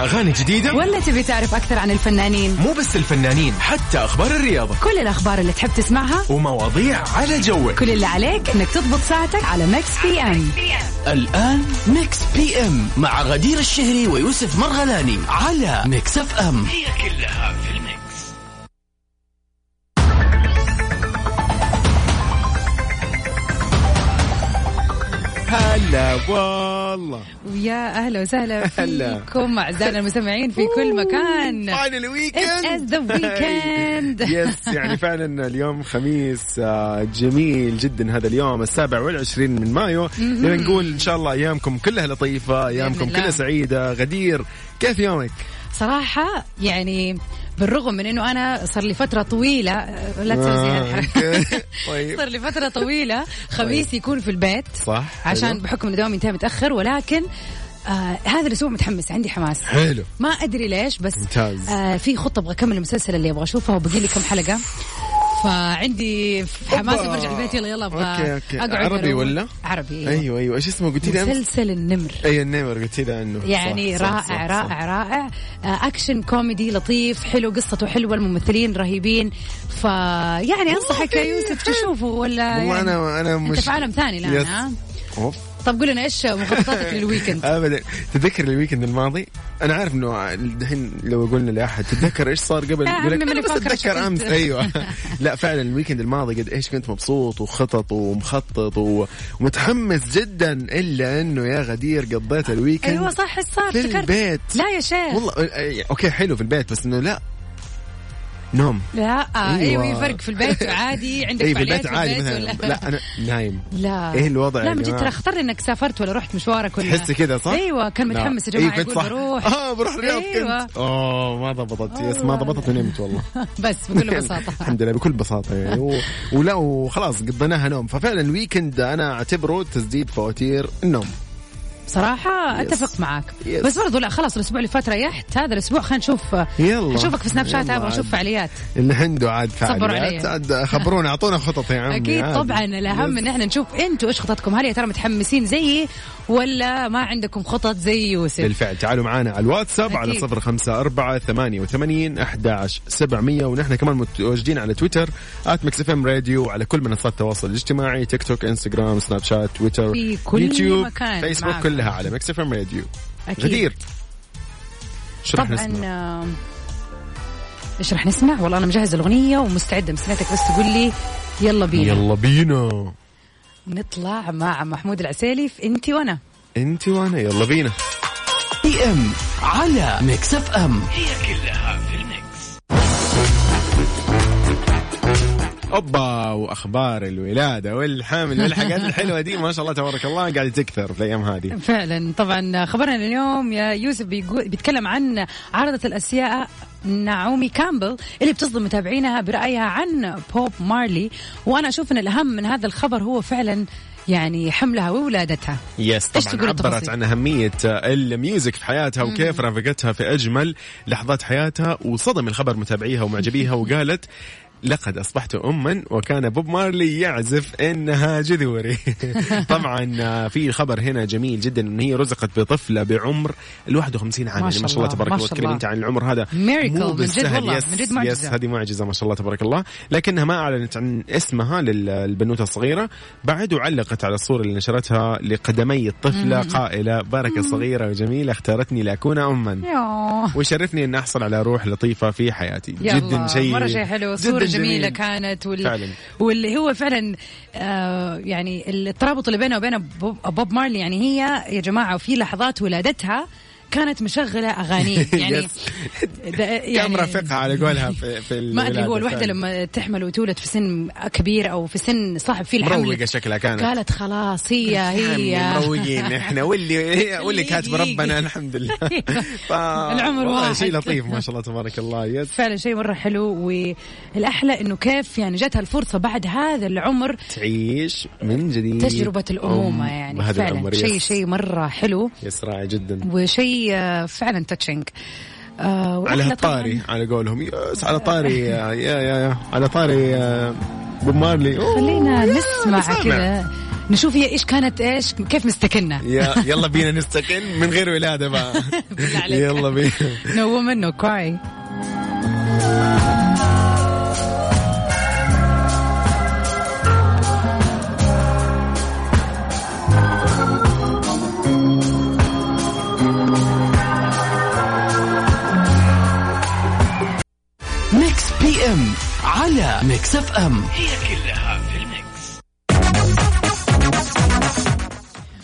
أغاني جديدة ولا تبي تعرف أكثر عن الفنانين مو بس الفنانين حتى أخبار الرياضة كل الأخبار اللي تحب تسمعها ومواضيع على جوك كل اللي عليك انك تضبط ساعتك على ميكس بي ام الآن ميكس بي ام مع غدير الشهري ويوسف مرغلاني على ميكس اف ام هي كلها في الميكس هلا والله ويا اهلا وسهلا هلا. فيكم اعزائنا المستمعين في كل مكان فاينل It's ويكند the weekend. يس يعني فعلا اليوم خميس آه، جميل جدا هذا اليوم السابع والعشرين من مايو لنا نقول ان شاء الله ايامكم كلها لطيفه ايامكم بإذن الله. كلها سعيده غدير كيف يومك؟ صراحة يعني بالرغم من انه انا صار لي فترة طويلة لا آه، تسوي أوكي. طيب. صار لي فترة طويلة خميس يكون في البيت صح، عشان حلو. بحكم انه دوامي ينتهي متأخر ولكن آه هذا الاسبوع متحمس عندي حماس حلو ما ادري ليش بس ممتاز. آه في خطه ابغى اكمل المسلسل اللي ابغى اشوفه وبقي لي كم حلقه فعندي حماس أوبا. برجع البيت يلا يلا ابغى أوكي، أوكي. اقعد عربي أروق. ولا؟ عربي ايوه ايوه ايوه ايش اسمه قلتي لي امس؟ مسلسل النمر اي النمر قلتي لي عنه صح، يعني صح، رائع صح، صح. رائع رائع آه، اكشن كوميدي لطيف حلو قصته حلوه الممثلين رهيبين فيعني انصحك يا يوسف تشوفه ولا والله يعني انا انا مش انت في عالم ثاني الان يس. ها؟ أوف. طب قول لنا ايش مخططاتك للويكند ابدا تتذكر الويكند الماضي انا عارف انه الحين لو قلنا لاحد تتذكر ايش صار قبل يا يقول لك عمي ماني أنا بس فاكرة إيش اتذكر امس كنت. ايوه لا فعلا الويكند الماضي قد ايش كنت مبسوط وخطط ومخطط ومتحمس جدا الا انه يا غدير قضيت الويكند ايوه صح ايش صار في افتكرت. البيت لا يا شيخ والله أي- اوكي حلو في البيت بس انه لا نوم لا ايوه, أيوة. أيوة فرق في البيت عادي عندك اي في فعاليات البيت عادي مثلا ولا- لا انا نايم لا إيه الوضع يا لا من جد جماعة؟ ترى اختار انك سافرت ولا رحت مشوارك ولا تحسي كذا صح؟ ايوه كان لا. متحمس يا جماعه إيه كنت يقول صح. بروح اه بروح الرياض أيوة. كنت اوه ما ضبطت يس ما والله. ضبطت ونمت والله بس بكل بساطه الحمد لله بكل بساطه يعني و... ولا وخلاص قضيناها نوم ففعلا الويكند انا اعتبره تسديد فواتير النوم بصراحه اتفق معاك Yes. بس برضو لا خلاص الاسبوع اللي فات ريحت هذا الاسبوع خلينا نشوف يلا. اشوفك في سناب شات يلا ابغى اشوف عاد. فعاليات اللي عنده عاد علي. فعاليات عاد خبرونا اعطونا خطط يا عمي اكيد عاد. طبعا الاهم يس. ان احنا نشوف انتوا ايش خططكم هل يا ترى متحمسين زيي ولا ما عندكم خطط زي يوسف بالفعل تعالوا معنا على الواتساب على أكيد. صفر خمسة أربعة ثمانية وثمانين أحداش سبعمية ونحن كمان متواجدين على تويتر آت ميكس اف ام راديو وعلى كل منصات التواصل الاجتماعي تيك توك انستغرام سناب شات تويتر في كل يوتيوب مكان فيسبوك معك. كلها على ميكس اف ام راديو أكيد. غدير شو رح طبعا نسمع؟ آه، ايش رح نسمع؟ والله انا مجهز الاغنيه ومستعده مستنيتك بس تقول لي يلا بينا يلا. يلا بينا نطلع مع محمود العسيلي في انتي وانا انت وانا يلا بينا بي ام على ميكس اف ام هي كلها في الميكس اوبا واخبار الولاده والحمل والحاجات الحلوه دي ما شاء الله تبارك الله قاعده تكثر في الايام هذه فعلا طبعا خبرنا اليوم يا يوسف بيقول بيتكلم عن عارضة الأسياء نعومي كامبل اللي بتصدم متابعينها برأيها عن بوب مارلي وأنا أشوف أن الأهم من هذا الخبر هو فعلا يعني حملها وولادتها يس إيش طبعا تقول عبرت التفاصيل؟ عن اهميه الميوزك في حياتها وكيف رافقتها في اجمل لحظات حياتها وصدم الخبر متابعيها ومعجبيها وقالت لقد اصبحت اما وكان بوب مارلي يعزف انها جذوري طبعا في خبر هنا جميل جدا ان هي رزقت بطفله بعمر ال 51 عام ما يعني شاء ما شاء الله الله، تبارك ما الله شاء تكلمي الله. انت عن العمر هذا Miracle، مو من جد بالسهل. والله، يس من جد معجزة. يس هذه معجزه ما شاء الله تبارك الله لكنها ما اعلنت عن اسمها لل- للبنوته الصغيره بعد وعلقت على الصوره اللي نشرتها لقدمي الطفله قائله بركه صغيره وجميله اختارتني لاكون اما يوه. ويشرفني ان احصل على روح لطيفه في حياتي يلا، جدا شيء مره شيء حلو جداً صوره جميله جميل. كانت وال... فعلاً. واللي هو فعلا آه يعني الترابط اللي بينه وبين بوب, بوب مارلي يعني هي يا جماعه في لحظات ولادتها كانت مشغله اغانيه يعني يس. كم رافقها على قولها في, في ما ادري الولادة هو الوحده فعلاً. لما تحمل وتولد في سن كبير او في سن صاحب فيه الحمل مروقه شكلها كانت قالت خلاص هي هي يعني مروقين احنا واللي واللي كاتب يجي. ربنا الحمد لله ف- العمر والله واحد. شيء لطيف ما شاء الله تبارك الله يس فعلا شيء مره حلو والاحلى انه كيف يعني جاتها الفرصه بعد هذا العمر تعيش من جديد تجربة الأمومة أم يعني بهذا فعلا العمر. شيء يس. شيء مرة حلو يس رائع جدا وشيء آه، فعلا تاتشنج آه على وأحلى طبعاً. هالطاري على قولهم يس على طاري يا يا يا على طاري آه، بوب مارلي أوه، خلينا يا، نسمع نسمع. كذا نشوف هي ايش كانت ايش كيف مستكنه يا يلا بينا نستقل من غير ولاده بقى بالله عليك. يلا بينا No woman no cry ميكس بي ام على ميكس اف ام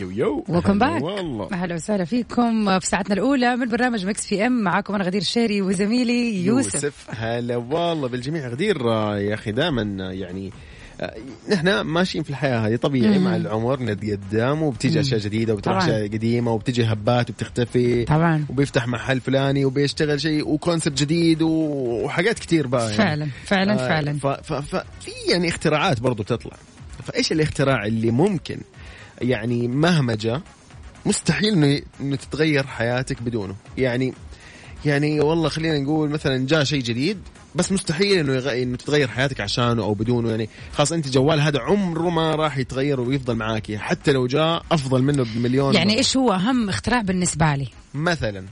يو يو ويلكم هلا باك والله اهلا وسهلا فيكم في ساعتنا الاولى من برنامج مكس في ام معاكم انا غدير الشهري وزميلي يوسف, يوسف. يوسف هلا والله بالجميع غدير آه، يا اخي دائما يعني آه، نحن ماشيين في الحياه هذه طبيعي مع العمر نتقدم وبتيجي اشياء جديده وبتروح طبعاً. اشياء قديمه وبتيجي هبات وبتختفي طبعاً. وبيفتح محل فلاني وبيشتغل شيء وكونسبت جديد و- وحاجات كتير بقى يعني. فعلاً، فعلاً، آه، فعلاً. ف- ف- ففي يعني اختراعات برضو بتطلع فايش الاختراع اللي ممكن يعني مهما جاء مستحيل انه انه تتغير حياتك بدونه يعني يعني والله خلينا نقول مثلا جاء شيء جديد بس مستحيل انه يغ... انه تتغير حياتك عشانه او بدونه يعني خلاص انت جوال هذا عمره ما راح يتغير ويفضل معاكي حتى لو جاء افضل منه بمليون يعني مرة. ايش هو اهم اختراع بالنسبه لي مثلا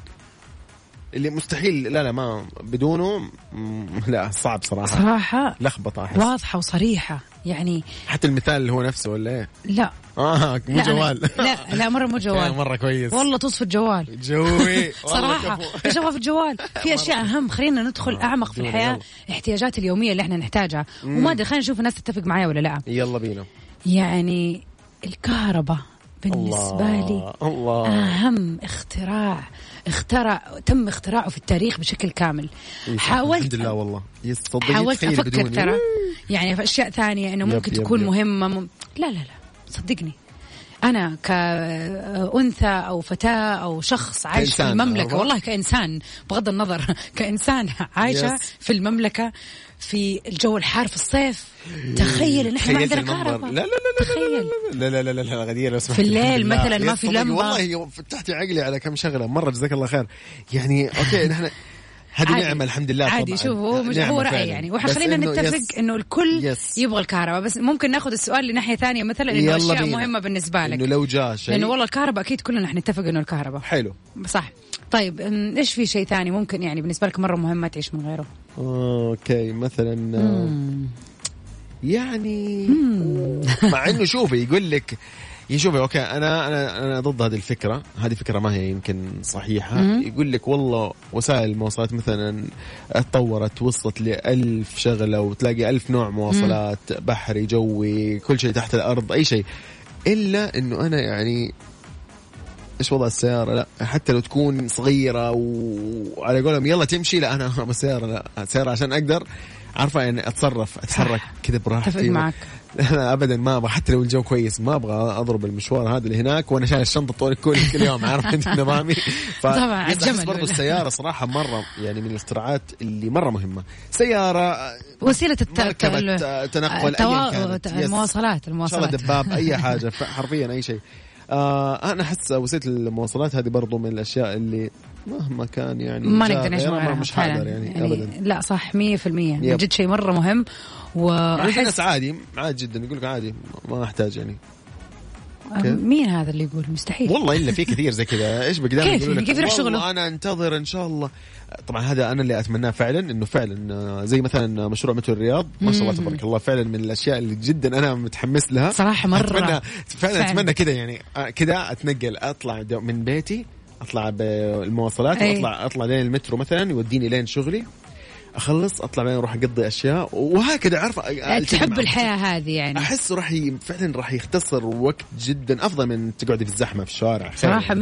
اللي مستحيل لا لا ما بدونه مم، لا صعب صراحه صراحه لخبطه أحس. واضحه وصريحه يعني حتى المثال اللي هو نفسه ولا ايه؟ لا اه مو لا أنا- جوال يعني لا لا مره مو يا جوال مره كويس والله تصفى الجوال جوي صراحة ايش ابغى في الجوال؟ في اشياء اهم خلينا ندخل اعمق في آه، يلا، الحياة يلا. احتياجات اليومية اللي احنا نحتاجها وما ادري خلينا نشوف الناس تتفق معايا ولا لا يلا بينا يعني الكهرباء بالنسبة لي آه، الله الله أهم اختراع اخترع تم اختراعه في التاريخ بشكل كامل إيه، الحمد حاولت لله والله يصدق حاولت يتخيل افكر بدوني. ترى يعني في اشياء ثانيه انه يب ممكن يب تكون يب. مهمه مم... لا لا لا صدقني انا كانثى او فتاه او شخص عايش في كإنسان، المملكه عرفت؟ والله كانسان بغض النظر كانسان عايشه Yes. في المملكه في الجو الحار في الصيف تخيل ان احنا ما تخيلت عندنا المنظر. كهرباء لا لا لا لا تخيل لا لا لا لا لا غدير لو سمحت. في الليل لا، مثلاً ما في يصدق لمبة. والله يو- فتحتي عقلي على كم شغله مره جزاك الله خير يعني اوكي نحن هذه عادي. نعمه الحمد لله عادي طبعاً. شوف هو مش نعمة هو فعلاً. راي يعني بس وخلينا إنه نتفق يس. انه الكل يس. يبغى الكهرباء بس ممكن ناخذ السؤال لناحيه ثانيه مثلا انه يلا اشياء بينا. مهمه بالنسبه انه لك لو جاء شيء لانه والله الكهرباء اكيد كلنا حنتفق انه الكهرباء حلو صح طيب أم، ايش في شيء ثاني ممكن يعني بالنسبه لك مره مهم ما تعيش من غيره اوكي مثلا آه، يعني مع انه شوفي يقول لك يا شوفي اوكي انا انا انا ضد هذه الفكره، هذه فكره ما هي يمكن صحيحه، يقول لك والله وسائل المواصلات مثلا اتطورت وصلت لألف شغله وتلاقي ألف نوع مواصلات بحري جوي كل شيء تحت الارض اي شيء الا انه انا يعني ايش وضع السياره لا حتى لو تكون صغيره و- وعلى قولهم يلا تمشي لا انا ابغى سياره لا سياره عشان اقدر عارفه يعني اتصرف اتحرك كذا براحتي أتفق معك. انا ابدا ما ابغى حتى لو الجو كويس ما ابغى اضرب المشوار هذا اللي هناك وانا شايل الشنطه طول كل كل يوم عارف انت نظامي ف- طبعاً، بس الجمل أحس برضو ولا- السياره صراحه مره يعني من الاختراعات اللي مره مهمه سياره وسيله الت... مركبة، ال- آه، تنقل، التوا- أياً الت- كانت. يس. المواصلات ان شاء الله المواصلات دباب اي حاجه ف- حرفيا اي شيء آه انا احس وسيله المواصلات هذه برضو من الاشياء اللي مهما كان يعني ما جاء نقدر نعيش من غيرها غيرها مش فعلاً. حاضر يعني, يعني ابدا لا صح 100% من يب. جد شيء مره مهم مع إن واحس في ناس عادي عادي جدا يقول لك عادي ما احتاج يعني كيف؟ مين هذا اللي يقول مستحيل والله الا في كثير زي كذا ايش بقدام كيف يقولوا لك كيف يروح والله شغله؟ انا انتظر ان شاء الله طبعا هذا انا اللي اتمناه فعلا انه فعلا آه، زي مثلا مشروع مترو الرياض ما شاء الله تبارك الله فعلا من الاشياء اللي جدا انا متحمس لها صراحة مرة. اتمنى فعلا فعلا. اتمنى كذا يعني آه، كذا اتنقل اطلع دو- من بيتي اطلع بالمواصلات أي. واطلع اطلع لين المترو مثلا يوديني لين شغلي اخلص اطلع بعدين اروح اقضي اشياء وهكذا عارفه آه، ألتقي تحب مع- الحياه هذه يعني احس راح ي... فعلا راح يختصر وقت جدا افضل من تقعدي في الزحمه في الشارع صراحه فعلاً.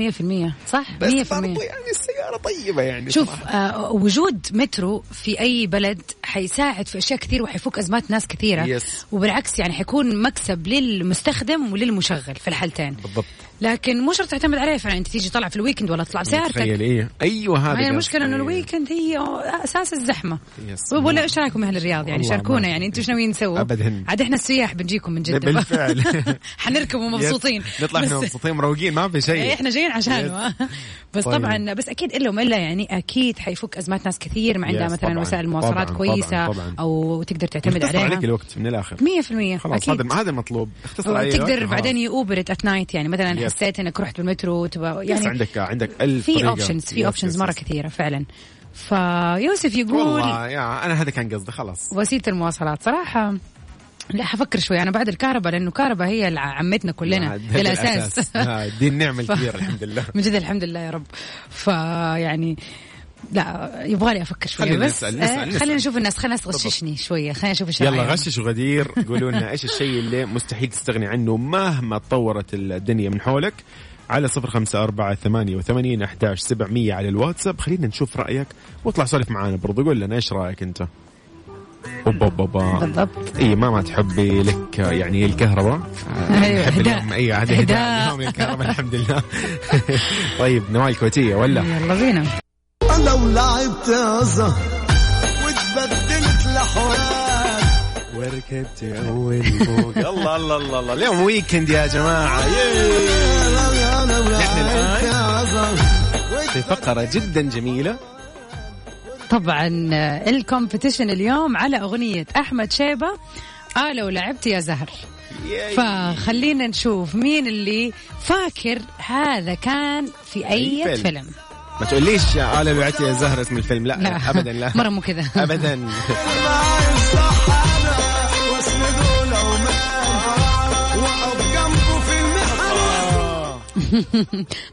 100% صح 100% بس برضو يعني السياره طيبه يعني شوف صراحة. آه وجود مترو في اي بلد حيساعد في اشياء كثير وحيفك ازمات ناس كثيره Yes. وبالعكس يعني حيكون مكسب للمستخدم وللمشغل في الحالتين بالضبط لكن مو شرط تعتمد عليه فعلا انت تيجي طالع في الويكند ولا تطلع تخيل بسيارتك ايه ايوه هذا هي قصدي. المشكله انه أيوة. الويكند هي اساس الزحمه يس. ولا ايش رايكم اهل الرياض يعني والله شاركونا ما- يعني انتم ايش ناويين تسووا؟ أبداً. عاد احنا السياح بنجيكم من جده بالفعل. حنركب ومبسوطين يس. نطلع بس- احنا مبسوطين مروقين ما في إيه، شيء احنا جايين عشانه بس طيب. طبعا بس اكيد الا وما الا يعني اكيد حيفك ازمات ناس كثير ما عندها يس، مثلا طبعاً. وسائل مواصلات طبعاً، كويسه طبعاً، طبعاً. او تقدر تعتمد اختصر عليها عليك الوقت من الاخر 100% خلاص اكيد هذا آه. هذا المطلوب اختصر عليه وتقدر الوقت، بعدين خلاص. يوبرت ات نايت يعني مثلا يس. حسيت انك رحت بالمترو تبغى يس يعني عندك عندك ألف في طريقة. اوبشنز يس، في اوبشنز يس، مره يس. كثيره فعلا فيوسف يقول والله يا انا هذا كان قصدي خلاص وسيله المواصلات صراحه لا حفكر شوي انا بعد الكهرباء لانه الكهرباء هي الع- عمتنا كلنا هذا بالاساس آه، دي النعمه ف- الكبيره الحمد لله من جد الحمد لله يا رب فيعني لا يبغالي افكر شويه خلينا بس نسأل- نسأل- آه، نسأل. خلينا نشوف الناس خلينا تغششني شويه خلينا نشوف ايش يلا رأيهم. غشش وغدير قولوا لنا ايش الشيء اللي مستحيل تستغني عنه مهما تطورت الدنيا من حولك على صفر خمسة أربعة ثمانية وثمانين أحداش سبعمية على الواتساب خلينا نشوف رأيك واطلع سولف معانا برضو قول لنا ايش رأيك انت أوبا بابا بالضبط اي ماما تحبي لك يعني الكهرباء أيوة، أحب هداء. اليوم- اي هذا هداء هداء. اليوم الكهرباء الحمد لله طيب نوال كويتية ولا يلا بينا لو لعبت أزهر وتبدلت لحوار وركبت اول فوق الله الله الله الله اليوم ويكند يا جماعه ياي. نحن الآن في فقرة جدا جميلة طبعا آه، الكومبيتيشن اليوم على اغنيه احمد شيبه آه لو لعبت يا زهر فخلينا نشوف مين اللي فاكر هذا كان في اي أي فيلم, فيلم. ما تقوليش يا آلة بعتي يا زهرة اسم الفيلم لا, لا. أبدا لا مره مو كذا أبدا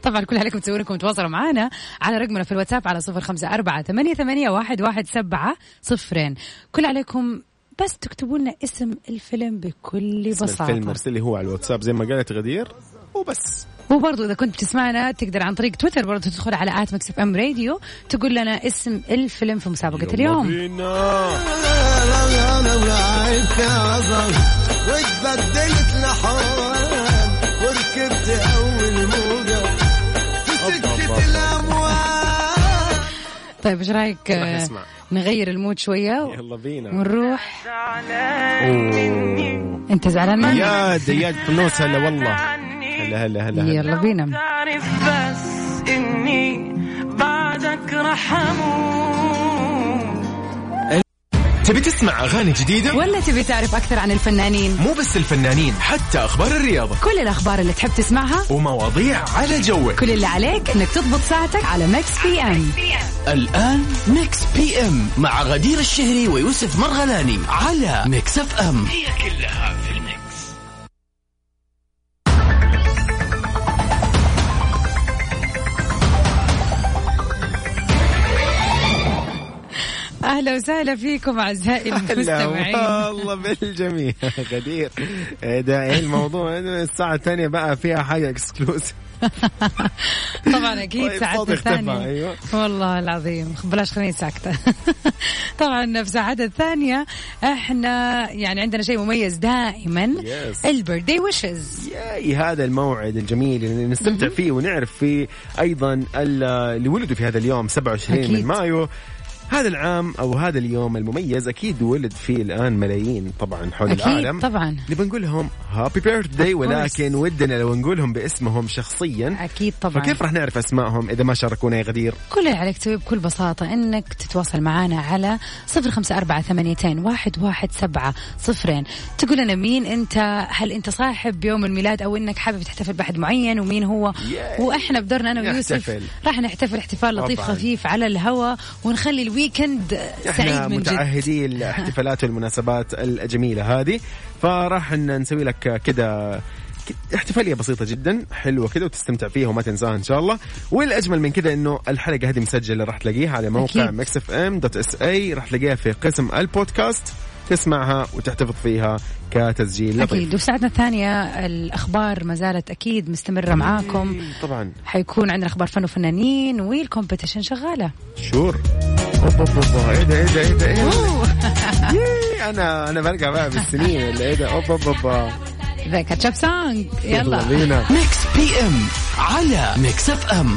طبعا كل عليكم تسوونكم تواصلوا معنا على رقمنا في الواتساب على صفر خمسة أربعة ثمانية, ثمانية واحد, واحد سبعة صفرين كل عليكم بس تكتبوا لنا اسم الفيلم بكل اسم الفيلم بساطة ارسل لي هو على الواتساب زي ما قالت غدير وبس وبرضو إذا كنت بتسمعنا تقدر عن طريق تويتر برضو تدخل على آت مكسف أم راديو تقول لنا اسم الفيلم في مسابقة اليوم بينا. لو لعبت أزهر وتبدلت لحوار وركبت أول موجة في سكة الأموال طيب إيش رأيك راح آه، نسمع. نغير المود شوية يلا بينا ونروح أوه. أنت زعلان مني؟ يا دياج فنوس هلا والله هلا هلا هلا هلا يلا بينا تعرف بس اني بعدك رح اموت تبي تسمع أغاني جديدة؟ ولا تبي تعرف أكثر عن الفنانين مو بس الفنانين حتى أخبار الرياضة كل الأخبار اللي تحب تسمعها ومواضيع على جوك كل اللي عليك انك تضبط ساعتك على ميكس بي ام الآن ميكس بي ام مع غدير الشهري ويوسف مرغلاني على ميكس اف ام اهلا وسهلا فيكم اعزائي هلا المستمعين والله بالجميع غدير إيه ده ايه الموضوع إنه الساعة الثانية بقى فيها حاجة اكسكلوسيف طبعا اكيد طيب، ساعتنا صوتي اختفى، الثانيه أيوة. والله العظيم بلاش خليني ساكته طبعا في ساعتنا الثانيه احنا يعني عندنا شيء مميز دائما Yes. البيرثدي ويشز ياي هذا الموعد الجميل اللي نستمتع فيه ونعرف فيه ايضا ال- اللي ولدوا في هذا اليوم 27 من أكيد. مايو هذا العام او هذا اليوم المميز اكيد ولد فيه الان ملايين طبعا حول أكيد العالم طبعاً. اللي بنقول لهم هابي بيرثداي course. ولكن ودنا لو نقولهم باسمهم شخصيا اكيد طبعا فكيف راح نعرف اسمائهم اذا ما شاركونا يا غدير كل اللي عليك تسويه بكل بساطة إنك تتواصل معنا على صفر خمسة أربعة ثمانيتين واحد واحد سبعة صفرين تقول لنا مين أنت هل أنت صاحب يوم الميلاد أو إنك حابب تحتفل بأحد معين ومين هو Yay. وإحنا بدورنا أنا ويوسف نحتفل. راح نحتفل احتفال لطيف طبعاً. خفيف على الهوا ونخلي الويكند سعيد احنا من جد متعهدي الاحتفالات والمناسبات الجميله هذه فراح إن نسوي لك كده احتفاليه بسيطه جدا حلوه كده وتستمتع فيها وما تنساها ان شاء الله والاجمل من كده انه الحلقه هذه مسجله راح تلاقيها على موقع أكيد. مكسف ام دوت اس اي راح تلاقيها في قسم البودكاست تسمعها وتحتفظ فيها كتسجيل طيب. أكيد لطيف وفي ساعتنا الثانية الأخبار ما زالت أكيد مستمرة معاكم طبعا حيكون عندنا أخبار فن وفنانين والكومبيتيشن شغالة شور اوبا اوبا ايه ده ايه ده ايه ده إيه ايه ده؟ ياي، انا انا برجع بقى بالسنين ولا ايه ده اوبا اوبا ذا كاتشب سونج يلا يلا بينا ميكس بي ام على ميكس اف ام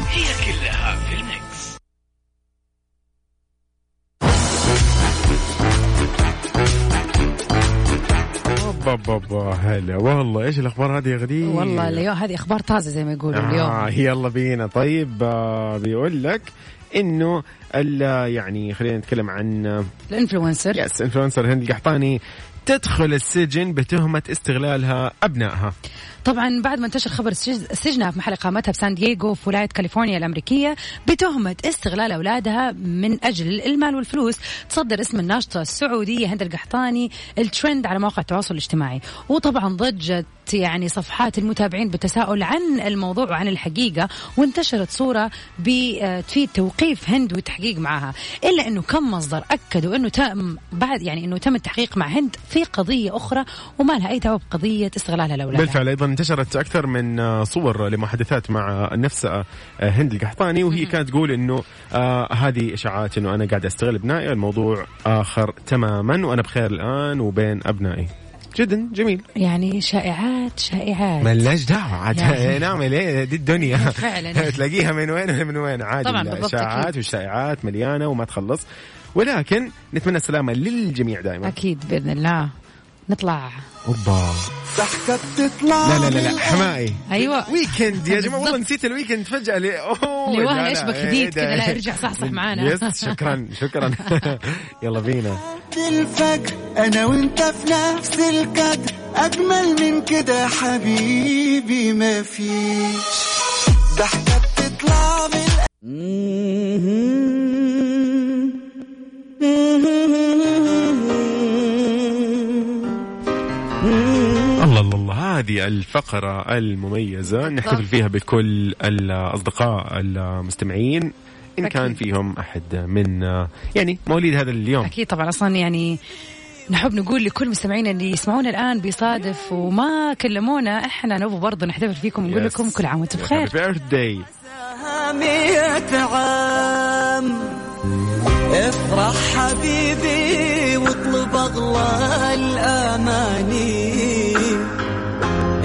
با با با هلا والله ايش الاخبار هذه يا غدير والله اليوم هذه اخبار طازه زي ما يقولوا اليوم آه يلا بينا طيب آه بيقول لك انه ال- يعني خلينا نتكلم عن آه، الانفلونسر يس انفلونسر هند القحطاني تدخل السجن بتهمة استغلالها أبنائها طبعا بعد ما انتشر خبر سج- سجنها في محل اقامتها بسان دييغو في ولايه كاليفورنيا الامريكيه بتهمه استغلال اولادها من اجل المال والفلوس تصدر اسم الناشطه السعوديه هند القحطاني الترند على مواقع التواصل الاجتماعي وطبعا ضجت يعني صفحات المتابعين بالتساؤل عن الموضوع وعن الحقيقه وانتشرت صوره بتفيد توقيف هند والتحقيق معها الا انه كم مصدر اكدوا انه تم بعد يعني انه تم التحقيق مع هند في قضيه اخرى وما لها اي دعوه بقضيه استغلالها لاولادها بالفعل أيضا انتشرت أكثر من آه، صور لمحادثات مع نفس آه، هند القحطاني وهي كانت تقول أنه آه هذه إشاعات أنه أنا قاعد أستغل أبنائي الموضوع آخر تماما وأنا بخير الآن وبين أبنائي جدا جميل يعني شائعات شائعات ملناش دعوه عاد يعني. نعمل ايه دي الدنيا فعلاً. تلاقيها من وين ولا من وين عادي نعم. طبعاً، بالضبط، الاشاعات أكيد. والشائعات مليانه وما تخلص ولكن نتمنى السلامه للجميع دائما اكيد باذن الله نطلع اوبا ضحكة تطلع لا لا لا, لا حمائي ايوه ويكند يا جماعه والله بالضبط. نسيت الويكند فجاه لي اوه لوهلة لا، لا، اشبك إيه ديك ده؟ كده، لا، ارجع صحصح معانا. يس شكرا شكرا يلا بينا الفجر انا وانت في نفس القدر اجمل من كده حبيبي ما فيش ضحكة بتطلع من الله الله الله هذه الفقرة المميزة نحتفل فيها بكل الأصدقاء المستمعين إن كان أكيد. فيهم أحد من يعني مواليد هذا اليوم اكيد طبعا اصلا يعني نحب نقول لكل مستمعينا اللي يسمعونا الان بيصادف وما كلمونا احنا نبغى برضه نحتفل فيكم ونقول Yes. لكم كل عام وانتم بخير Happy birthday. مية عام افرح حبيبي واطلب اغلى الاماني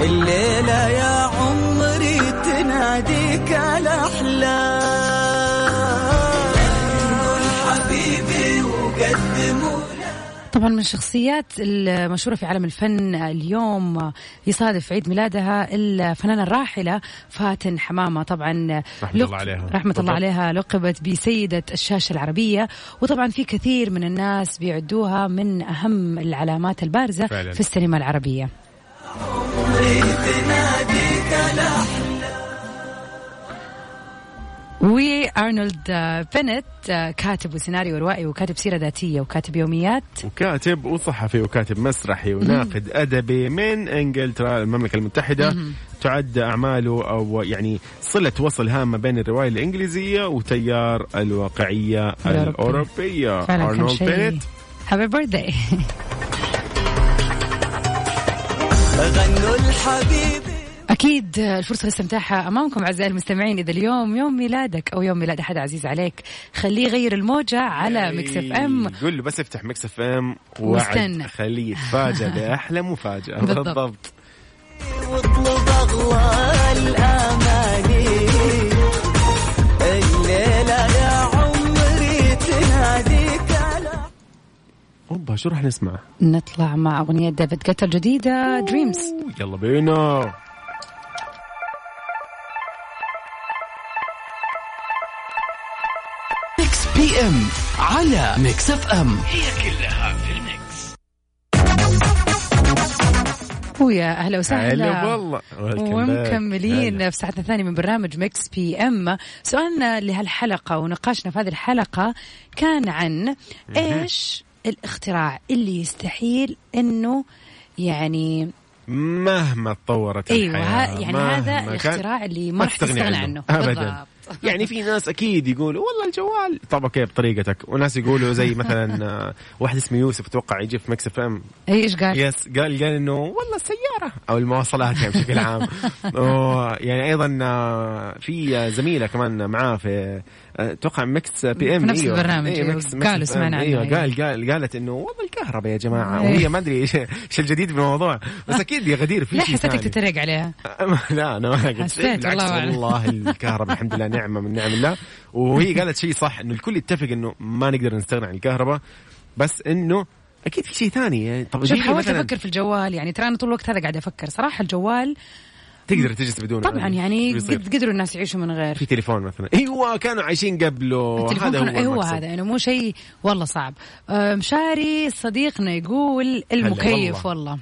الليلة يا عمري تناديك الاحلام قول حبيبي وقدموا طبعا من الشخصيات المشهورة في عالم الفن اليوم يصادف عيد ميلادها الفنانة الراحلة فاتن حمامة طبعا رحمة الله عليها. رحمة بالضبط. الله عليها لقبت بسيدة الشاشة العربية وطبعا في كثير من الناس بيعدوها من أهم العلامات البارزة فعلاً. في السينما العربية وارنولد آه، بينت آه، كاتب وسيناريو روائي وكاتب سيرة ذاتية وكاتب يوميات وكاتب وصحفي وكاتب مسرحي وناقد أدبي من إنجلترا المملكة المتحدة تعد أعماله أو يعني صلة وصل هامة بين الرواية الإنجليزية وتيار الواقعية الأوروبي. الأوروبية فعلا كان آه، أرنولد شيء بينت هابي بيرثداي غنوا الحبيبي اكيد الفرصه لاستمتاعها امامكم اعزائي المستمعين اذا اليوم يوم ميلادك او يوم ميلاد احد عزيز عليك خليه يغير الموجه على ميكس اف ام قول إيه، له بس افتح ميكس اف ام وعد واستنى. خليه يتفاجئ باحلى مفاجاه بالضبط. بالضبط واطلب اغلى الاماني الليله يا عمري تناديك على اوبا شو راح نسمع؟ نطلع مع اغنيه ديفيد جيتا الجديده دريمز يلا بينا ميكس بي ام على ميكس اف ام ويا اهلا وسهلا هلا والله Welcome back. ومكملين في ساعتنا الثانية من برنامج مكس بي ام سؤالنا لهالحلقة ونقاشنا في هذه الحلقة كان عن ايش الاختراع اللي يستحيل انه يعني مهما تطورت ايوه الحياة، ها- يعني مهما هذا كان، الاختراع اللي ما ما راح تستغني تستغنى عنه. عنه ابدا يعني في ناس اكيد يقولوا والله الجوال طب اوكي بطريقتك وناس يقولوا زي مثلا آه، واحد اسمه يوسف اتوقع يجي في مكس اف ام ايش قال؟ يس قال قال انه والله السياره او المواصلات يعني بشكل عام أوه، يعني ايضا آه، في زميله كمان معاه في آه، اتوقع ميكس بي ام في نفس البرنامج، أيوه، أيوه. ميكس- ميكس قالوا بي إم، سمعنا عنه، إيه. ايوه أيوه. قال قال قالت انه والله كهرباء يا جماعه وهي ما ادري ايش ايش الجديد بالموضوع بس اكيد يا غدير في لا شيء حسيتك ثاني. تتريق عليها لا انا ما قلت حسيت بالعكس والله أعلم. والله الكهرباء الحمد لله نعمه من نعم الله وهي قالت شيء صح انه الكل يتفق انه ما نقدر نستغنى عن الكهرباء بس انه اكيد في شيء ثاني يعني طب شوف جيبي حاولت مثلاً- افكر في الجوال يعني ترى انا طول الوقت هذا قاعده افكر صراحه الجوال تقدر تجلس بدونه طبعا يعني بيصير. قد قدروا الناس يعيشوا من غير في تليفون مثلا ايوه كانوا عايشين قبله التليفون هذا كان- هو, إيه هو المقصود. هذا يعني مو شيء والله صعب آه، مشاري صديقنا يقول المكيف والله. والله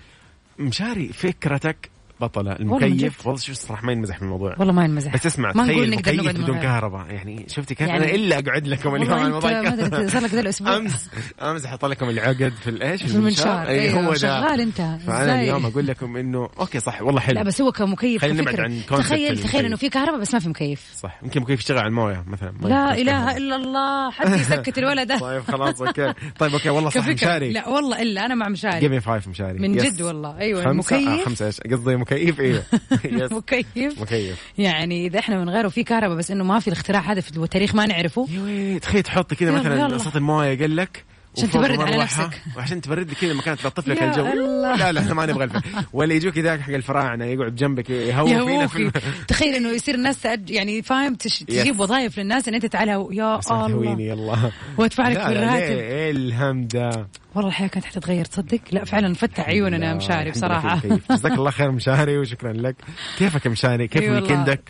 مشاري فكرتك بطله والله من المكيف جد. والله شوف صراحه ما ينمزح من الموضوع والله ما ينمزح بس اسمع ما نقول تخيل نقدر مكيف نقعد من بدون غير. كهرباء يعني شفتي كيف يعني- انا الا اقعد لكم اليوم والله عن أنت الموضوع ما أدري، كان- صار لك ذا الأسبوع. امس امس حط لكم العقد في الايش في المنشار. اي أيوة، هو ده شغال أنت. فانا إزاي؟ اليوم اقول لكم انه اوكي صح والله حلو لا بس هو كمكيف خلينا نبعد كفكرة. عن concept تخيل المكيف. تخيل انه في كهرباء بس ما في مكيف صح يمكن مكيف يشتغل على المويه مثلا ما لا يمكن اله يشتغل. الا الله حد يسكت الولد ده طيب خلاص اوكي طيب اوكي والله صح كفكرة. مشاري لا والله الا انا مع مشاري جيب مي فايف مشاري من Yes. جد والله ايوه خمسة آه المكيف خمسة ايش قصدي مكيف ايوه Yes. مكيف مكيف يعني اذا احنا من غيره في كهرباء بس انه ما في الاختراع هذا في التاريخ ما نعرفه ايوه تخيل تحط كذا يلا، مثلا يلا. صوت المويه قال لك عشان وفوق تبرد على المروحة، نفسك. وعشان تبرد لك كذا مكان تلطف لك يا الجو الله. لا لا احنا ما نبغى الفن ولا يجوك ذاك حق الفراعنه يقعد جنبك يا يهوى فينا في أخوي، تخيل انه يصير الناس تأج- يعني فاهم تش- Yes. تجيب وظائف للناس ان انت تعالها يا بس لا تهويني الله يلا وادفع لك لا، في لا، الراتب. ليه؟ ايه الهم ده والله الحياه كانت حتتغير تصدق لا فعلا فتح لا، عيوننا مشاري الحمد لله بصراحه كيف- كيف. جزاك الله خير مشاري وشكرا لك كيفك يا مشاري كيف إي أيوة والله. ويكندك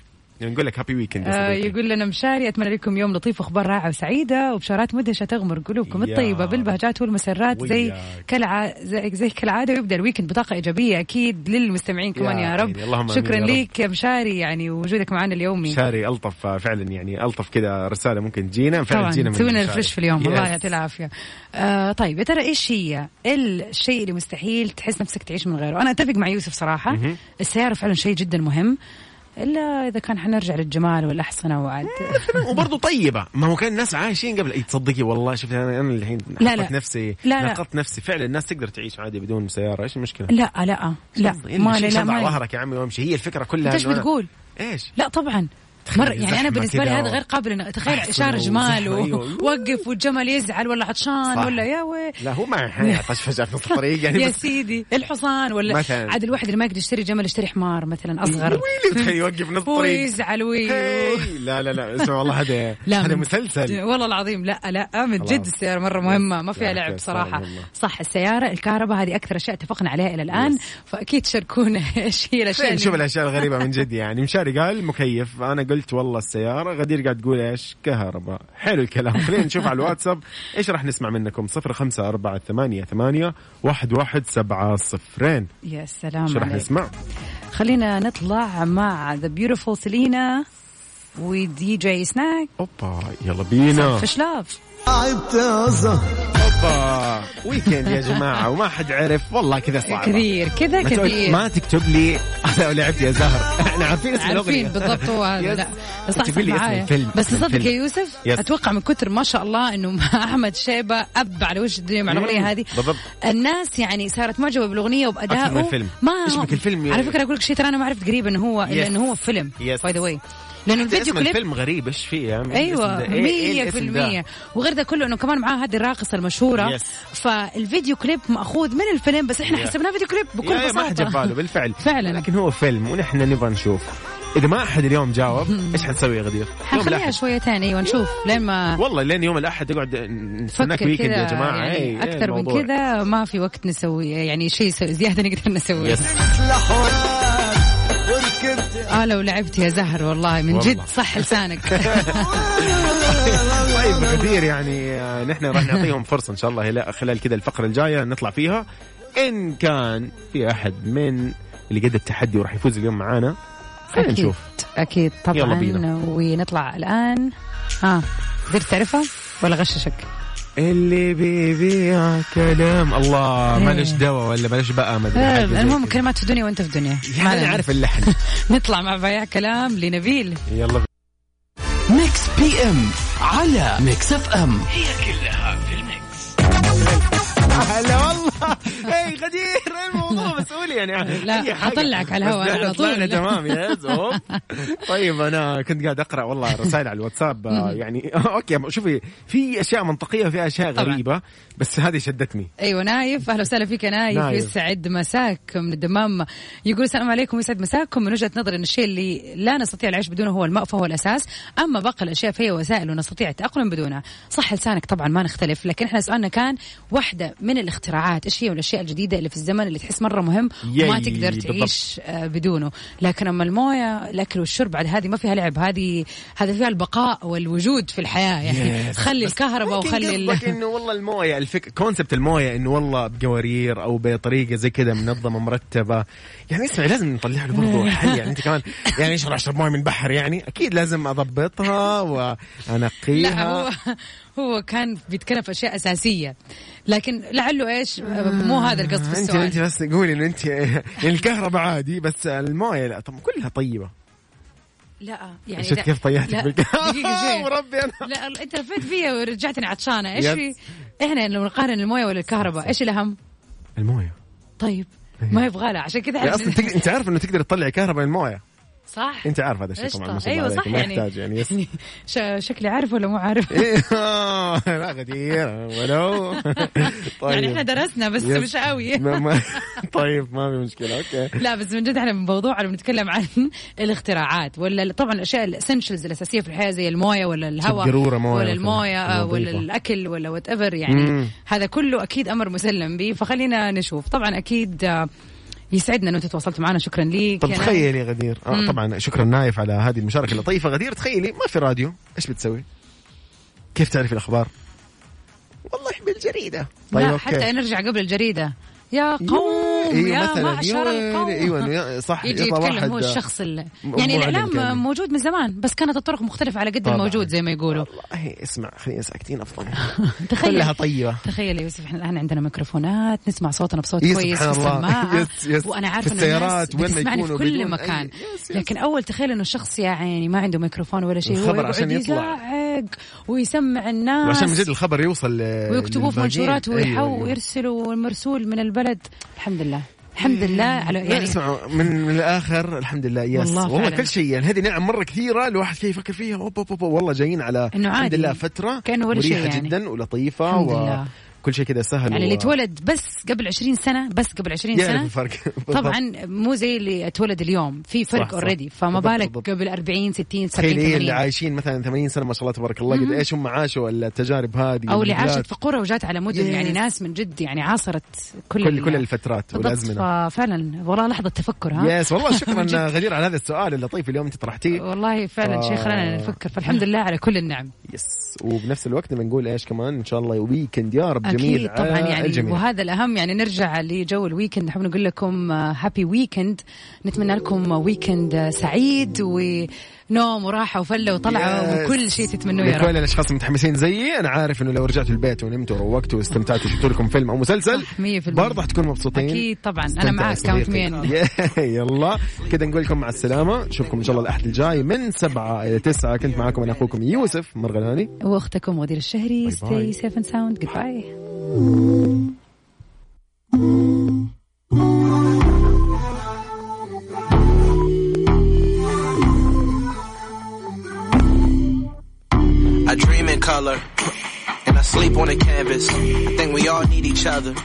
يعني نقول لك هابي ويكند يا آه، صديقي. يقول لنا مشاري اتمنى لكم يوم لطيف واخبار رائعه وسعيده وبشارات مدهشه تغمر قلوبكم يا الطيبه بالبهجات والمسرات زي وياك. كالع... زي, زي كالعاده ويبدا الويكند بطاقه ايجابيه اكيد للمستمعين كمان يا يا, رب عيني، اللهم آمين شكرا يا رب. ليك يا مشاري يعني وجودك معنا اليومي شاري الطف فعلا يعني الطف كذا رساله ممكن تجينا فعلا طبعا تجينا من سوينا شاري. الفريش في اليوم Yes. الله يعطيه العافيه آه طيب يا ترى ايش هي الشيء اللي مستحيل تحس نفسك تعيش من غيره انا اتفق مع يوسف صراحه السياره فعلا شيء جدا مهم الا اذا كان حنرجع للجمال والاحصنه وعاد إيه، وبرضه طيبه ما هو كان الناس عايشين قبل اي تصدقي والله شفت انا انا الحين لا، حطيت لا. نفسي لا، لا. نقضت نفسي فعلا الناس تقدر تعيش عادي بدون سياره ايش المشكله؟ لا لا آه، لا إيه ما اللي لا شد على ما ظهرك يا عمي وامشي هي الفكره كلها انت ايش إنه أنا- بتقول؟ ايش؟ لا طبعا مرة زحمة يعني انا بالنسبه لي كده هذا غير قابل إنه- تخيل أحسن اشاره جمال وزحمة، أيوه. ووقف والجمل يزعل ولا عطشان صح. ولا يا وي لا هو ما يعطش فجاه في نص الطريق يعني يا بس سيدي الحصان ولا مثلاً. عاد الواحد اللي ما يقدر يشتري جمل يشتري حمار مثلا اصغر ويلي تخيل يوقف نص هو الطريق يزعل وي هاي. لا لا لا اسمع والله هذا لا هذا من- مسلسل والله العظيم لا لا من جد خلاص. السيارة مرة مهمة ما لا، فيها لعب فيها صراحة سؤال والله. صح السيارة الكهرباء هذه أكثر أشياء اتفقنا عليها إلى الآن فأكيد شاركونا إيش هي الأشياء خلينا اللي- نشوف الاشياء الغريبه من جد يعني مشاري قال مكيف انا قلت والله السياره غدير قاعد تقول ايش كهرباء حلو الكلام خلينا نشوف على الواتساب ايش راح نسمع منكم 0548811700 يا سلام شو راح عليك. نسمع خلينا نطلع مع ذا بيوتيفول سيلينا ودي جي سناك اوبا يلا بينا فش لاف تعبت يا زهر اوبا ويكند يا جماعه وما حد عرف والله كذا صعب كثير كذا ما, تقول- كثير ما تكتب لي انا لعبت يا زهر احنا عارفين اسم الاغنيه عارفين بالضبط هو هذا يس. لا بس صح تقول لي اسم معايا الفيلم، بس اسم تصدق الفيلم. يا يوسف يس. اتوقع من كثر ما شاء الله انه احمد شيبه اب على وجه الدنيا مع مم، الاغنيه هذه بالضبط. الناس يعني صارت معجبه بالاغنيه وبادائه أكثر من الفيلم. ما اسمك الفيلم يا- على فكره اقول لك شيء ترى انا ما عرفت قريب انه هو الا يس. انه هو فيلم يس. باي ذا واي لانه الفيديو اسم كليب الفيلم غريب ايش فيه يا عمي؟ الاسم ده؟ ايوه إيه- إيه مية في الاسم ده؟ المية وغير ذا كله انه كمان معاه هذه الراقصه المشهوره Yes. فالفيديو كليب ماخوذ من الفيلم بس احنا Yeah. حسبناه فيديو كليب يا- بكل يا ما حد جاب باله بساطه بالفعل فعلاً. لكن هو فيلم ونحن نبغى نشوف اذا ما احد اليوم جاوب ايش حنسوي يا غدير؟ يوم حنخليها الأحد. شويه ثانيه ايوه نشوف لين ما والله لين يوم الاحد نقعد نستناك فكر ويكند كذا يا جماعه يعني إيه، إيه اكثر من الموضوع. كذا ما في وقت نسوي يعني شيء سو- زياده نقدر نسويه يس. لحوات وركبت اه لو لعبت يا زهر والله من والله. جد صح لسانك طيب غدير يعني آه، نحن راح نعطيهم فرصه ان شاء الله هلا- خلال كذا الفقره الجايه نطلع فيها ان كان في احد من اللي قد التحدي وراح يفوز اليوم معانا خلينا اكيد نشوف اكيد يلا طبعا بينا. ونطلع الان ها زر تعرفها ولا غششك اللي بيبيع كلام الله إيه. مالش دواء ولا مالش بقى ما ادري حاجة زي المهم كده. كلمات في دنيا وانت في دنيا ما يعني انا علينا. عارف اللحن نطلع مع بياع كلام لنبيل يلا ميكس بي ام على ميكس اف ام هي كلها في الميكس هلا والله اي غدير إيه الموضوع مسؤول يعني لا، أي حاجة. أطلعك على الهواء بس أنا لا، على طول. طلعنا تمام يس أوب. طيب انا كنت قاعد اقرا والله رسائل على الواتساب آه، يعني اوكي شوفي في اشياء منطقيه وفي اشياء طبعاً. غريبه بس هذه شدتني ايوه نايف اهلا وسهلا فيك يا نايف, نايف. نايف. يسعد مساك من الدمام يقول السلام عليكم يسعد مساكم من وجهه نظري ان الشيء اللي لا نستطيع العيش بدونه هو الماء فهو الاساس اما باقي الاشياء فهي وسائل ونستطيع التاقلم بدونها صح لسانك طبعا ما نختلف لكن احنا سؤالنا كان واحده من الاختراعات ايش هي الاشياء الجديده اللي في الزمن اللي تحس مره مهم وما ياي، تقدر بالضبط. تعيش آه، بدونه لكن اما المويه الاكل والشرب عاد هذه ما فيها لعب هذه هذا فيها البقاء والوجود في الحياه يعني Yes. خلي الكهرباء ممكن وخلي ال- قصدك انه والله المويه الفك... كونسبت المويه انه والله بقوارير او بطريقه زي كذا منظمه مرتبه يعني اسمعي لازم نطلع له برضه حل يعني انت كمان يعني ايش راح اشرب مويه من بحر يعني اكيد لازم اضبطها وانقيها لا هو هو كان بيتكلم في اشياء اساسيه لكن لعله ايش مو هذا القصد في انت انت السؤال بس قولي انه انت الكهرباء عادي بس المويه لا طب كلها طيبه لا يعني يعني شفت إذا- كيف طيحتك لا، دقيقه بالكهرباء شوي وربي انا لا ال- انت لفيت فيا ورجعتني عطشانه ايش يب. في احنا لو نقارن المويه ولا الكهرباء ايش الاهم المويه طيب ما يبغى لها عشان كذا يعني إحنا- اصلا تقدر- انت عارف انه تقدر تطلع كهرباء من المويه صح انت عارف هذا الشيء قشطة. طبعا ما شاء الله ايوه عليك، صح ما يعني يحتاج يعني يس. ش- شكلي عارف ولا مو عارف إيه، آه، لا غدير ولو طيب. يعني احنا درسنا بس يس. مش قوي ما- ما- طيب ما في مشكله اوكي لا بس من جد احنا من موضوعنا بنتكلم عن الاختراعات ولا طبعا الاشياء الاسنشلز الاساسيه في الحياه زي المويه ولا الهواء قارورة موية ولا مثلاً، المويه آه، ولا نظيفة. الاكل ولا وات ايفر يعني مم. هذا كله اكيد امر مسلم به فخلينا نشوف طبعا اكيد آه، يسعدنا ان انت تواصلت معنا شكرا ليك يعني طب يا تخيلي غدير آه نعم. مم. طبعا شكرا نايف على هذه المشاركه اللطيفه غدير تخيلي ما في راديو ايش بتسوي؟ كيف تعرفي الاخبار؟ والله طيب، بالجريده نايف. لا حتى نرجع قبل الجريده يا قوم إيوه يا مثلاً، معشر يويلي، القوم ايوه يا- صح يجي يطلع يتكلم واحد هو الشخص اللي مو يعني عليه الاعلام يتكلم. موجود من زمان بس كانت الطرق مختلفه على قد طبعاً. الموجود زي ما يقولوا والله اسمع خلينا ساكتين افضل تخيل كلها طيبه تخيل يا يوسف احنا الان عندنا ميكروفونات نسمع صوتنا بصوت يس، كويس في سبحان الله. السماعه يس، يس. وانا عارفه في انه الناس السيارات، وين بتسمعني في يكونوا كل بدون- مكان أي- يس، يس. لكن اول تخيل انه الشخص يعني ما عنده ميكروفون ولا شيء هو الخبر يقعد عشان يطلع. يزعق ويسمع الناس وعشان من جد الخبر يوصل ل- ويكتبوه في للباقيين. منشورات ويحو أيوة، أيوة. ويرسلوا المرسول من البلد الحمد لله الحمد لله على يعني يعني اسمعوا من, من الاخر الحمد لله يس والله والله, والله فعلاً. كل شيء يعني هذه نعم مره كثيره الواحد كيف يفكر فيها أوب أوب أوب والله جايين على إنه الحمد عادي. لله فتره كأنه ولا شيء مريحة يعني. جدا ولطيفه الحمد لله. وكل شيء كذا سهل يعني و- اللي اتولد بس قبل 20 سنه بس قبل 20 يعرف سنه الفرق طبعا مو زي اللي اتولد اليوم في صح، فرق صح. اوريدي فما بالضبط، بالك بالضبط. قبل 40 60 70 تخيل هي 80 اللي عايشين مثلا 80 سنه ما شاء الله تبارك الله قد ايش هم عاشوا التجارب هذه او اللي والبلاد. عاشت في قرى وجات على مدن Yes. يعني ناس من جد يعني عاصرت كل إيه. كل ال- كل الفترات بالضبط. والازمنه ففعلا والله لحظه تفكر ها يس والله من جد. شكرا غدير على هذا السؤال اللطيف اليوم انت طرحتيه والله فعلا شيء آه. خلانا نفكر فالحمد لله على كل النعم يس وبنفس الوقت بنقول ايش كمان ان شاء الله ويكند يا رب جميل اكيد طبعا على يعني الجميع. وهذا الاهم يعني نرجع لجو الويكند نحب نقول لكم هابي ويكند نتمنى لكم ويكند آه، سعيد ونوم وراحه وفله وطلعه Yes. وكل شيء تتمنوه يا لكل رب الاشخاص المتحمسين زيي انا عارف انه لو رجعتوا البيت ونمتوا وروقتوا واستمتعتوا وشفتوا لكم فيلم او مسلسل صح، 100%. برضه حتكونوا مبسوطين اكيد طبعا انا استمتعوا معك يا كاونت صديقي. مين يلا كذا نقول لكم مع السلامه نشوفكم ان شاء الله الاحد الجاي من سبعة الى تسعة كنت معاكم انا اخوكم يوسف مرغلاني واختكم مدير الشهري باي. ستي سيف اند ساوند جود باي I dream in color, and I sleep on a canvas. I think we all need each other.